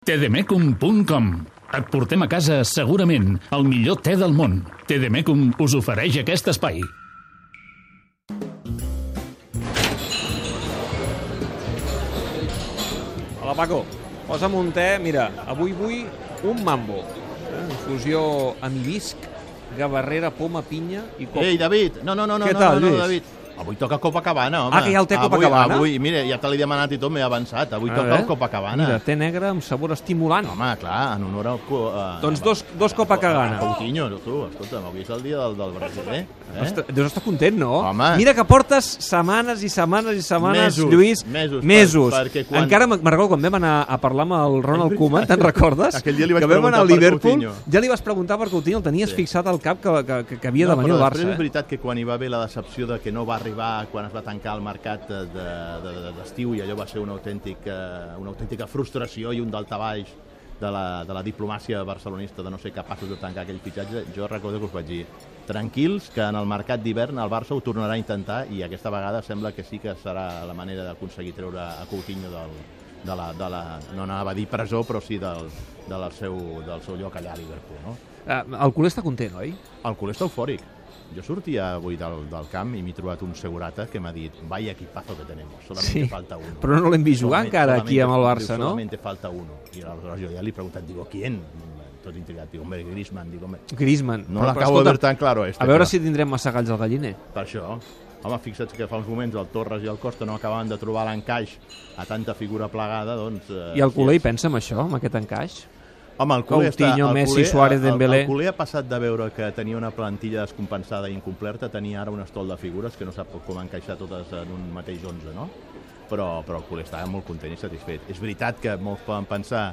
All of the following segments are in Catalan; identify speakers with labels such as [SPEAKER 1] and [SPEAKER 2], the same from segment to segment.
[SPEAKER 1] E tdmecum.com Et portem a casa segurament el millor te del món. Tdmecum us ofereix aquest espai.
[SPEAKER 2] Hola, Paco. Posa'm un te. Mira, avui vull un mambo. Eh? Infusió amb hibisc, gavarrera, poma, pinya i cop.
[SPEAKER 3] Ei, David, no, no, no, no,
[SPEAKER 2] Què
[SPEAKER 3] no,
[SPEAKER 2] tal,
[SPEAKER 3] no, no,
[SPEAKER 2] Lluís?
[SPEAKER 3] David. Avui toca Copacabana, home.
[SPEAKER 2] Ah, que hi ha el té
[SPEAKER 3] avui,
[SPEAKER 2] Copacabana?
[SPEAKER 3] Avui, mira, ja te l'he demanat i tot, m'he avançat. Avui
[SPEAKER 2] A
[SPEAKER 3] toca
[SPEAKER 2] veure.
[SPEAKER 3] el Copacabana.
[SPEAKER 2] Mira, te negre amb sabor estimulant.
[SPEAKER 3] Home, eh? clar, en honor al... co- a-
[SPEAKER 2] Doncs dos- dos
[SPEAKER 3] a-
[SPEAKER 2] Copacabana.
[SPEAKER 3] a Coutinho, tu, escolta'm, avui és el dia del, del brasiler. Eh?
[SPEAKER 2] Ostres, Deus estar content, no?
[SPEAKER 3] Home.
[SPEAKER 2] Mira que portes setmanes i setmanes i setmanes,
[SPEAKER 3] Mesos,
[SPEAKER 2] Lluís.
[SPEAKER 3] mesos, per-
[SPEAKER 2] mesos.
[SPEAKER 3] perquè quan-
[SPEAKER 2] Encara, me- me'n recordo, quan vam anar a parlar amb el Ronald Koeman, te'n recordes?
[SPEAKER 3] Aquell dia li vaig
[SPEAKER 2] que vam anar
[SPEAKER 3] preguntar
[SPEAKER 2] a
[SPEAKER 3] per
[SPEAKER 2] Liverpool,
[SPEAKER 3] Coutinho.
[SPEAKER 2] ja li vas preguntar per Coutinho, el tenies
[SPEAKER 3] Sí.
[SPEAKER 2] fixat al cap que, que, que, que havia de venir
[SPEAKER 3] però
[SPEAKER 2] al
[SPEAKER 3] després
[SPEAKER 2] Barça. eh?
[SPEAKER 3] és veritat que quan hi va haver la decepció de que no va arribar quan es va tancar el mercat de- de- de- d'estiu i allò va ser una, autèntic, eh, una autèntica frustració i un daltabaix de la, de la diplomàcia barcelonista de no ser capaços de tancar aquell fitxatge, jo recordo que us vaig dir tranquils, que en el mercat d'hivern el Barça ho tornarà a intentar i aquesta vegada sembla que sí que serà la manera d'aconseguir treure a Coutinho del, de la, de la, no anava a dir presó, però sí del, del, seu, del seu lloc allà a Liverpool. No?
[SPEAKER 2] Eh? Eh, El culer està content, oi?
[SPEAKER 3] El culer està eufòric. Jo sortia avui del, del camp i m'he trobat un segurata que m'ha dit vaya equipazo que tenemos, solamente
[SPEAKER 2] Sí,
[SPEAKER 3] falta uno.
[SPEAKER 2] però no l'hem vist jugar
[SPEAKER 3] Solamente-
[SPEAKER 2] encara aquí
[SPEAKER 3] solamente-
[SPEAKER 2] amb el Barça,
[SPEAKER 3] diu,
[SPEAKER 2] no?
[SPEAKER 3] Solamente falta uno. I aleshores jo ja li he preguntat, digo, ¿quién? Tot intrigat, digo, hombre, Griezmann, digo, hombre...
[SPEAKER 2] Griezmann.
[SPEAKER 3] No
[SPEAKER 2] Però-
[SPEAKER 3] l'acabo
[SPEAKER 2] però
[SPEAKER 3] de
[SPEAKER 2] escolta,
[SPEAKER 3] veure tan claro, este.
[SPEAKER 2] A veure
[SPEAKER 3] però-
[SPEAKER 2] si tindrem massagalls al galliner.
[SPEAKER 3] Per això, home, fixa't que fa uns moments el Torres i el Costa no acabaven de trobar l'encaix a tanta figura plegada, doncs... Eh,
[SPEAKER 2] I el culer hi
[SPEAKER 3] sí,
[SPEAKER 2] pensa en això, en aquest encaix?
[SPEAKER 3] Home, el culer està...
[SPEAKER 2] Coutinho,
[SPEAKER 3] el
[SPEAKER 2] Messi,
[SPEAKER 3] culer-
[SPEAKER 2] Suárez,
[SPEAKER 3] el- el-
[SPEAKER 2] Dembélé.
[SPEAKER 3] El culer ha passat de veure que tenia una plantilla descompensada i incomplerta, tenia ara un estol de figures que no sap com encaixar totes en un mateix 11, no? Però, però el culer estava molt content i satisfet. És veritat que molts poden pensar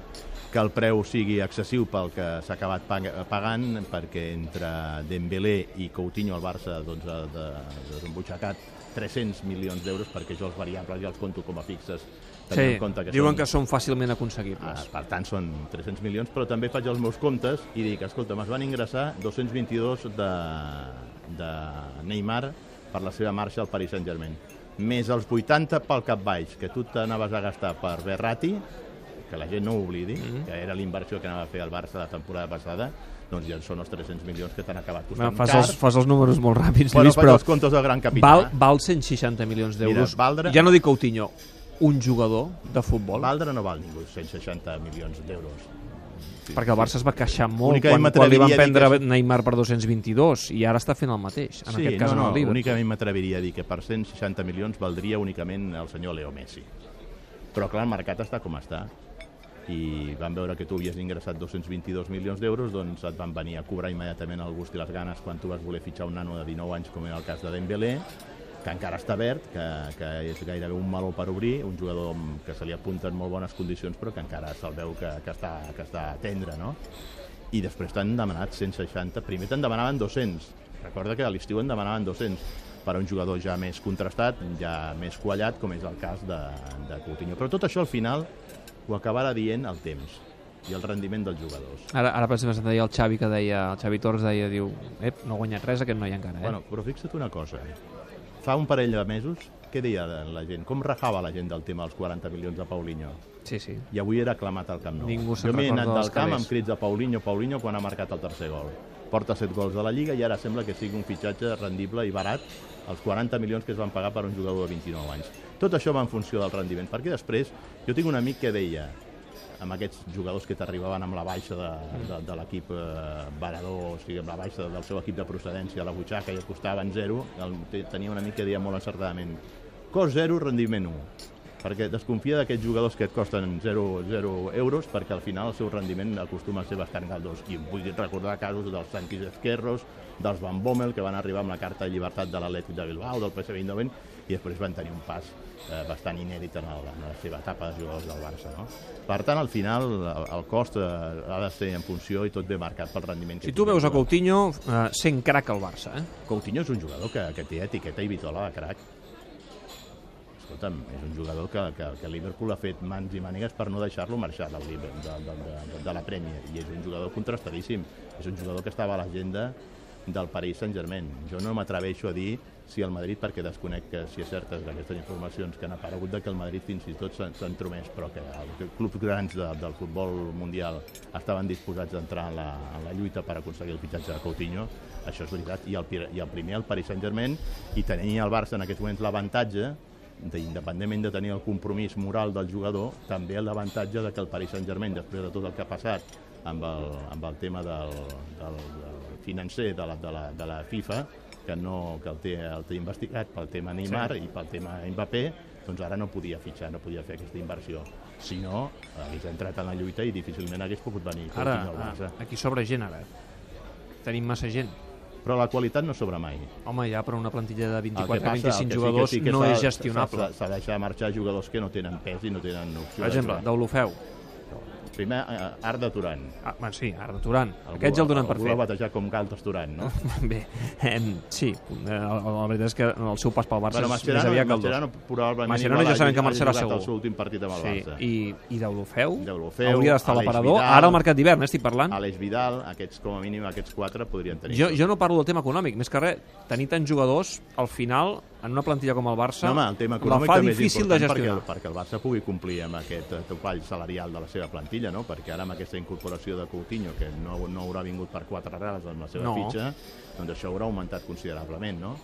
[SPEAKER 3] que el preu sigui excessiu pel que s'ha acabat pag- pagant, perquè entre Dembélé i Coutinho el Barça doncs, ha de, desembutxacat 300 milions d'euros perquè jo els variables ja els conto com a fixes. tenint en compte
[SPEAKER 2] diuen
[SPEAKER 3] són-
[SPEAKER 2] que són fàcilment
[SPEAKER 3] Ah,
[SPEAKER 2] aconseguibles.
[SPEAKER 3] per tant, són 300 milions, però també faig els meus comptes i dic, escolta, es van ingressar 222 de, de Neymar per la seva marxa al Paris Saint-Germain, més els 80 pel cap baix, que tu t'anaves a gastar per Berrati, que la gent no ho oblidi,
[SPEAKER 2] Mhm.
[SPEAKER 3] que era l'inversió que anava a fer el Barça la temporada passada, doncs ja són els 300 milions que t'han acabat
[SPEAKER 2] Bueno,
[SPEAKER 3] costant
[SPEAKER 2] fas,
[SPEAKER 3] car.
[SPEAKER 2] els, fas els números molt ràpids,
[SPEAKER 3] Bueno,
[SPEAKER 2] Lluís,
[SPEAKER 3] faig
[SPEAKER 2] però
[SPEAKER 3] els comptes del gran capità.
[SPEAKER 2] val, val 160 milions d'euros.
[SPEAKER 3] Mira, valdre-
[SPEAKER 2] Ja no dic Coutinho, un jugador de futbol.
[SPEAKER 3] Valdre no val ningú 160 milions d'euros.
[SPEAKER 2] perquè el Barça es va queixar molt
[SPEAKER 3] Únicament
[SPEAKER 2] quan, quan li van
[SPEAKER 3] m'atreviria a dir
[SPEAKER 2] prendre
[SPEAKER 3] que
[SPEAKER 2] Neymar per 222 i ara està fent el mateix, en aquest cas
[SPEAKER 3] no, no,
[SPEAKER 2] amb el Liverpool.
[SPEAKER 3] únicament m'atreviria a dir que per 160 milions valdria únicament el senyor Leo Messi. Però clar, el mercat està com està. I van veure que tu havies ingressat 222 milions d'euros, doncs et van venir a cobrar immediatament el gust i les ganes quan tu vas voler fitxar un nano de 19 anys, com era el cas de Dembélé, que encara està verd, que, que és gairebé un meló per obrir, un jugador amb- que se li apunten molt bones condicions, però que encara se'l veu que, que, està, que està tendre, no? i després t'han demanat 160, primer te'n demanaven 200, recorda que a l'estiu en demanaven 200, per a un jugador ja més contrastat, ja més quallat, com és el cas de, de Coutinho. Però tot això al final ho acabarà dient el temps i el rendiment dels jugadors.
[SPEAKER 2] Ara, ara per exemple, deia el Xavi que deia, el Xavi Torres deia, diu, ep, no ha guanyat res aquest noi encara, eh?
[SPEAKER 3] Bueno, però fixa't una cosa. Fa un parell de mesos, què deia la gent? Com rajava la gent del tema dels 40 milions de Paulinho?
[SPEAKER 2] sí, sí.
[SPEAKER 3] I avui era aclamat al Camp Nou.
[SPEAKER 2] Ningú se'n
[SPEAKER 3] jo m'he
[SPEAKER 2] recorda
[SPEAKER 3] anat
[SPEAKER 2] dels
[SPEAKER 3] del camp
[SPEAKER 2] calés.
[SPEAKER 3] amb crits de Paulinho, Paulinho, quan ha marcat el tercer gol. Porta 7 gols de la Lliga i ara sembla que sigui un fitxatge rendible i barat els 40 milions que es van pagar per un jugador de 29 anys. Tot això va en funció del rendiment, perquè després jo tinc un amic que deia amb aquests jugadors que t'arribaven amb la baixa de, de, de l'equip eh, varador, o sigui, amb la baixa del seu equip de procedència a la butxaca i et costaven 0, el, te- tenia un amic que deia molt encertadament cost 0, rendiment 1 perquè desconfia d'aquests jugadors que et costen 0, 0 euros perquè al final el seu rendiment acostuma a ser bastant galdós i em vull recordar casos dels Sanquis Esquerros, dels Van Bommel que van arribar amb la carta de llibertat de l'Atlètic de Bilbao, del PSV Eindhoven i després van tenir un pas eh, bastant inèdit en, el, en la seva etapa de jugadors del Barça. No? Per tant, al final el, el cost eh, ha de ser en funció i tot ve marcat pel rendiment. que
[SPEAKER 2] Si tu
[SPEAKER 3] tingui el
[SPEAKER 2] veus a
[SPEAKER 3] jugador.
[SPEAKER 2] Coutinho eh, sent crac al Barça, eh?
[SPEAKER 3] Coutinho és un jugador que, que té etiqueta i vitola de crac. Escolta'm, és un jugador que, que, que Liverpool ha fet mans i mànigues per no deixar-lo marxar del, Liber- de, de, de, de, de la Premier. I és un jugador contrastadíssim. És un jugador que estava a l'agenda del Paris Saint-Germain. Jo no m'atreveixo a dir si el Madrid, perquè desconec que si és certes d'aquestes informacions que han aparegut de que el Madrid fins i tot s'ha entromès, però que els clubs grans de, del futbol mundial estaven disposats d'entrar en, la, en la lluita per aconseguir el fitxatge de Coutinho, això és veritat, i el, pir- i el primer el Paris Saint-Germain, i tenia el Barça en aquests moments l'avantatge de, independentment de tenir el compromís moral del jugador, també l'avantatge de que el Paris Saint-Germain, després de tot el que ha passat amb el, amb el tema del, del, del financer de la, de, la, de la FIFA, que, no, que el, té, el té investigat pel tema Neymar sí. i pel tema Mbappé, doncs ara no podia fitxar, no podia fer aquesta inversió. Si no, hagués entrat en la lluita i difícilment hagués pogut venir.
[SPEAKER 2] Ara, ah.
[SPEAKER 3] Coutinho al Barça.
[SPEAKER 2] a- aquí sobra gent, ara. Tenim massa gent.
[SPEAKER 3] Però la qualitat no sobra mai.
[SPEAKER 2] Home, ja per una plantilla de
[SPEAKER 3] El
[SPEAKER 2] 24 o
[SPEAKER 3] que passa, el
[SPEAKER 2] 25
[SPEAKER 3] que
[SPEAKER 2] jugadors
[SPEAKER 3] sí que sí que
[SPEAKER 2] no
[SPEAKER 3] s'ha-
[SPEAKER 2] és gestionable.
[SPEAKER 3] s'ha- S'ha de deixar marxar jugadors que no tenen pes i no tenen opció.
[SPEAKER 2] Per exemple,
[SPEAKER 3] de
[SPEAKER 2] d'Olofeu.
[SPEAKER 3] Primer, eh, Arda Turan.
[SPEAKER 2] Ah, bueno, sí, Arda Turan. Aquests el donen per
[SPEAKER 3] Algú l'ha
[SPEAKER 2] fet.
[SPEAKER 3] batejar com Galtas Turan, no?
[SPEAKER 2] Bé, em, sí, eh, la, la veritat és que el seu pas pel Barça és
[SPEAKER 3] Bueno,
[SPEAKER 2] més
[SPEAKER 3] Mascherano,
[SPEAKER 2] aviat que el dos.
[SPEAKER 3] Mascherano probablement
[SPEAKER 2] Mascherano
[SPEAKER 3] igual
[SPEAKER 2] ja sabem
[SPEAKER 3] hagi-
[SPEAKER 2] que marxarà
[SPEAKER 3] hagi jugat
[SPEAKER 2] segur.
[SPEAKER 3] el seu últim partit amb el
[SPEAKER 2] Sí,
[SPEAKER 3] Barça.
[SPEAKER 2] i, i d'Olofeu
[SPEAKER 3] Deulofeu,
[SPEAKER 2] hauria d'estar a
[SPEAKER 3] Aleix
[SPEAKER 2] l'aparador.
[SPEAKER 3] Vidal.
[SPEAKER 2] Ara al mercat d'hivern, eh, estic parlant.
[SPEAKER 3] Àlex Vidal, aquests com a mínim, aquests quatre podrien tenir.
[SPEAKER 2] Jo, jo no parlo del tema econòmic, més que res, tenir tants jugadors, al final, en una plantilla com el Barça,
[SPEAKER 3] No, home, el tema
[SPEAKER 2] la
[SPEAKER 3] econòmic
[SPEAKER 2] fa
[SPEAKER 3] també és
[SPEAKER 2] difícil de
[SPEAKER 3] important perquè,
[SPEAKER 2] gestionar.
[SPEAKER 3] el- perquè el Barça pugui complir amb aquest eh, topall salarial de la seva plantilla, no? perquè ara amb aquesta incorporació de Coutinho, que no, no haurà vingut per quatre rades amb la seva
[SPEAKER 2] No.
[SPEAKER 3] fitxa, doncs això haurà augmentat considerablement, no?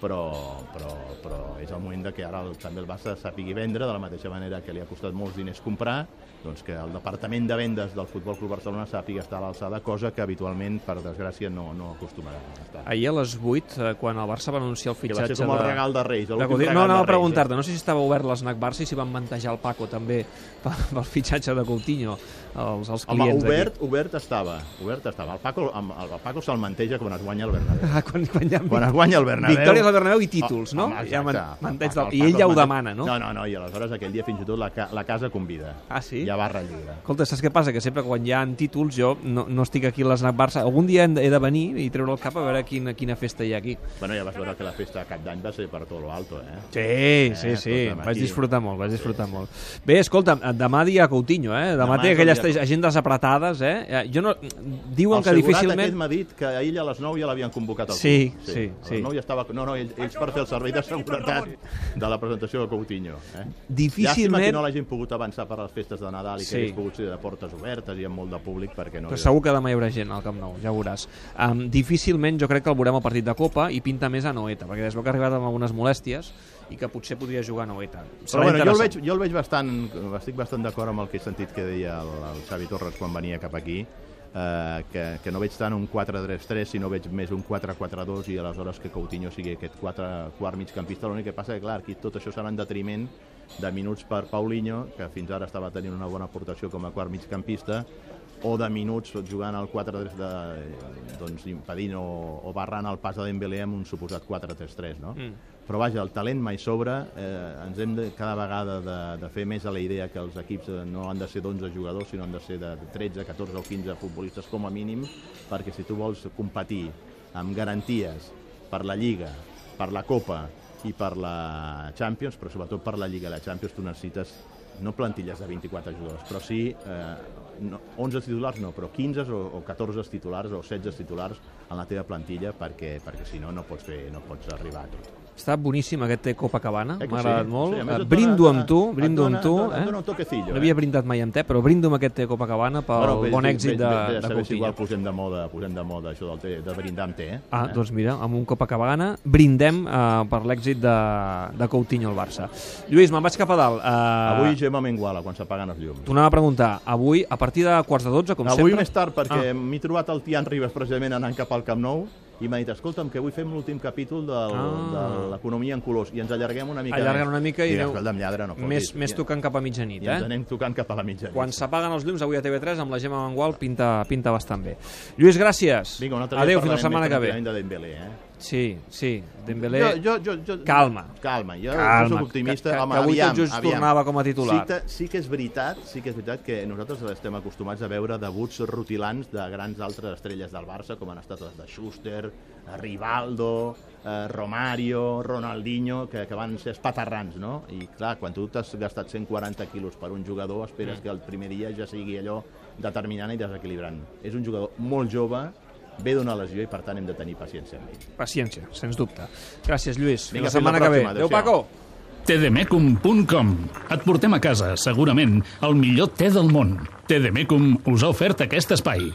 [SPEAKER 3] Però, però, però és el moment de que ara el, també el Barça sàpigui vendre de la mateixa manera que li ha costat molts diners comprar, doncs que el departament de vendes del Futbol Club Barcelona sàpiga estar a l'alçada, cosa que habitualment, per desgràcia, no, no acostumarà a estar.
[SPEAKER 2] Ahir a les 8, eh, quan el Barça va anunciar el
[SPEAKER 3] Que va
[SPEAKER 2] fitxatge
[SPEAKER 3] ser com el
[SPEAKER 2] de...
[SPEAKER 3] regal de Reis,
[SPEAKER 2] de
[SPEAKER 3] l'últim
[SPEAKER 2] Coutinho.
[SPEAKER 3] regal
[SPEAKER 2] No, anava
[SPEAKER 3] de
[SPEAKER 2] a
[SPEAKER 3] Reis, eh?
[SPEAKER 2] preguntar-te, no sé si estava obert l'esnac Barça i si van mantejar el Paco també pel, pel fitxatge de Coutinho als, als
[SPEAKER 3] Home,
[SPEAKER 2] clients
[SPEAKER 3] obert, obert estava, obert estava. El Paco, amb- el, el Paco se'l manteja quan es guanya el Bernabéu.
[SPEAKER 2] d'aquí. Ah, quan, quan hi ha...
[SPEAKER 3] Quan es guanya el Bernabéu... Oh,
[SPEAKER 2] Victòries al Bernabéu i títols, no?
[SPEAKER 3] Home,
[SPEAKER 2] Ja man-
[SPEAKER 3] exacte.
[SPEAKER 2] manteig
[SPEAKER 3] El Paco-
[SPEAKER 2] del- i ell ja ho
[SPEAKER 3] el manteig-
[SPEAKER 2] demana, no?
[SPEAKER 3] No, no, no, i aleshores aquell dia fins i tot la, ca- la casa convida.
[SPEAKER 2] Ah, sí?
[SPEAKER 3] Hi ha barra lliure.
[SPEAKER 2] Escolta, saps què passa? Que sempre quan hi ha títols jo no, no estic aquí a l'esnac Barça. Algun dia he de venir i treure el cap a veure quina, quina festa hi ha aquí.
[SPEAKER 3] Bueno, ja vas veure que la festa de cap d'any va ser per tot lo alto, eh?
[SPEAKER 2] Sí, sí, sí,
[SPEAKER 3] escolta'm,
[SPEAKER 2] vaig
[SPEAKER 3] aquí-
[SPEAKER 2] disfrutar molt, vaig disfrutar molt. Bé, escolta, demà dia Coutinho, eh? Demà,
[SPEAKER 3] Demà
[SPEAKER 2] té
[SPEAKER 3] és el
[SPEAKER 2] aquelles
[SPEAKER 3] dia-
[SPEAKER 2] agendes apretades, eh? Eh, Jo no... Diuen que
[SPEAKER 3] el segurat aquest
[SPEAKER 2] difícilment...
[SPEAKER 3] m'ha dit que a ell a les 9 ja l'havien convocat al
[SPEAKER 2] Sí,
[SPEAKER 3] club.
[SPEAKER 2] sí,
[SPEAKER 3] A
[SPEAKER 2] sí.
[SPEAKER 3] les 9 ja estava... No, no, ells, ells per fer el servei de seguretat de la presentació de Coutinho. Eh? Llàstima que
[SPEAKER 2] Difícilment...
[SPEAKER 3] no l'hagin pogut avançar per les festes de Nadal i
[SPEAKER 2] Sí.
[SPEAKER 3] que hagués pogut ser de portes obertes i amb molt de públic perquè no...
[SPEAKER 2] Però segur que demà hi haurà gent al Camp Nou, ja ho veuràs. Um, difícilment jo crec que el veurem al partit de Copa i pinta més a Noeta, perquè es veu que ha arribat amb algunes molèsties i que potser podria jugar a Noeta.
[SPEAKER 3] Però
[SPEAKER 2] Serà
[SPEAKER 3] bueno, jo el,
[SPEAKER 2] interessant.
[SPEAKER 3] veig, jo el veig bastant, estic bastant d'acord amb el que he sentit que deia el, el Xavi Torres quan venia cap aquí, eh, que, que no veig tant un 4-3-3, sinó veig més un 4-4-2 i aleshores que Coutinho sigui aquest 4, quart migcampista. L'únic que passa que, clar, aquí tot això serà en detriment de minuts per Paulinho, que fins ara estava tenint una bona aportació com a quart migcampista, o de minuts jugant al 4-3 de, doncs impedint o, o barrant el pas de Dembélé amb un suposat 4-3-3, no? Mm. Però vaja, el talent mai sobra, eh, ens hem de, cada vegada de, de fer més a la idea que els equips eh, no han de ser d'11 jugadors, sinó han de ser de 13, 14 o 15 futbolistes com a mínim, perquè si tu vols competir amb garanties per la Lliga, per la Copa i per la Champions, però sobretot per la Lliga i la Champions tu necessites no plantilles de 24 jugadors, però sí eh, no, 11 titulars no, però 15 o, o 14 titulars o 16 titulars en la teva plantilla perquè, perquè si no no pots, fer, no pots arribar a tot.
[SPEAKER 2] Està boníssim aquest té Copacabana,
[SPEAKER 3] Eh que
[SPEAKER 2] m'ha agradat
[SPEAKER 3] sí?
[SPEAKER 2] molt.
[SPEAKER 3] Sí, a més
[SPEAKER 2] Eh,
[SPEAKER 3] et dona-
[SPEAKER 2] brindo amb tu,
[SPEAKER 3] et
[SPEAKER 2] brindo
[SPEAKER 3] dona-
[SPEAKER 2] amb tu.
[SPEAKER 3] et dona- et
[SPEAKER 2] eh?
[SPEAKER 3] dona un toquecillo,
[SPEAKER 2] No havia
[SPEAKER 3] eh?
[SPEAKER 2] brindat mai amb te, però brindo amb aquest té Copacabana pel
[SPEAKER 3] bé,
[SPEAKER 2] bon
[SPEAKER 3] bé,
[SPEAKER 2] èxit
[SPEAKER 3] bé,
[SPEAKER 2] de,
[SPEAKER 3] bé,
[SPEAKER 2] de
[SPEAKER 3] saber si
[SPEAKER 2] Coutinho.
[SPEAKER 3] Igual posem de moda, posem de moda això del té, de brindar amb té. Eh?
[SPEAKER 2] Ah, doncs mira, amb un Copacabana brindem eh, per l'èxit de, de Coutinho al Barça. Lluís, me'n vaig cap a dalt. Eh,
[SPEAKER 3] Avui Gemma Menguala, quan s'apaguen els llums.
[SPEAKER 2] Tornava a preguntar, avui, a partir de quarts de 12, com
[SPEAKER 3] Avui
[SPEAKER 2] sempre... Ah,
[SPEAKER 3] més tard, perquè m'he trobat el Tian Ribas precisament anant cap al Camp Nou i m'ha dit, escolta'm, que avui fem l'últim capítol del,
[SPEAKER 2] Ah.
[SPEAKER 3] de l'economia en colors i ens allarguem una mica eh?
[SPEAKER 2] Allarguen
[SPEAKER 3] més.
[SPEAKER 2] una mica i
[SPEAKER 3] Dic,
[SPEAKER 2] aneu-
[SPEAKER 3] escolta'm, lladre, no fotis.
[SPEAKER 2] més, més
[SPEAKER 3] I-
[SPEAKER 2] tocant cap a mitjanit,
[SPEAKER 3] I ens
[SPEAKER 2] eh?
[SPEAKER 3] anem tocant cap a la mitja.
[SPEAKER 2] Quan s'apaguen els llums avui a TV3 amb la Gemma Mangual pinta, pinta bastant bé. Lluís, gràcies.
[SPEAKER 3] Vinga, un altre
[SPEAKER 2] Adéu,
[SPEAKER 3] dia
[SPEAKER 2] fins la setmana que ve.
[SPEAKER 3] De Dembélé, eh?
[SPEAKER 2] Sí, sí, Dembélé...
[SPEAKER 3] Jo, jo, jo, jo,
[SPEAKER 2] Calma.
[SPEAKER 3] Calma, jo,
[SPEAKER 2] Calma,
[SPEAKER 3] jo soc optimista.
[SPEAKER 2] que- que-
[SPEAKER 3] Home,
[SPEAKER 2] que avui tot
[SPEAKER 3] aviam,
[SPEAKER 2] just
[SPEAKER 3] aviam.
[SPEAKER 2] tornava com a titular.
[SPEAKER 3] Sí que, sí que és veritat, sí que és veritat que nosaltres estem acostumats a veure debuts rutilants de grans altres estrelles del Barça, com han estat les de Schuster, eh, Rivaldo, eh, Romario, Ronaldinho, que, que van ser espaterrans, no? I clar, quan tu t'has gastat 140 quilos per un jugador,
[SPEAKER 2] Mm.
[SPEAKER 3] esperes que el primer dia ja sigui allò determinant i desequilibrant. És un jugador molt jove, ve d'una lesió i per tant hem de tenir paciència amb ell.
[SPEAKER 2] Paciència, sens dubte. Gràcies, Lluís. Fins
[SPEAKER 3] Vinga,
[SPEAKER 2] la setmana
[SPEAKER 3] fins la
[SPEAKER 2] que ve.
[SPEAKER 3] pròxima.
[SPEAKER 2] Adéu,
[SPEAKER 3] Adéu-siau.
[SPEAKER 2] Paco!
[SPEAKER 1] E tdmecum.com Et E portem a casa, segurament, el millor te del món. Tdmecum us ha ofert aquest espai.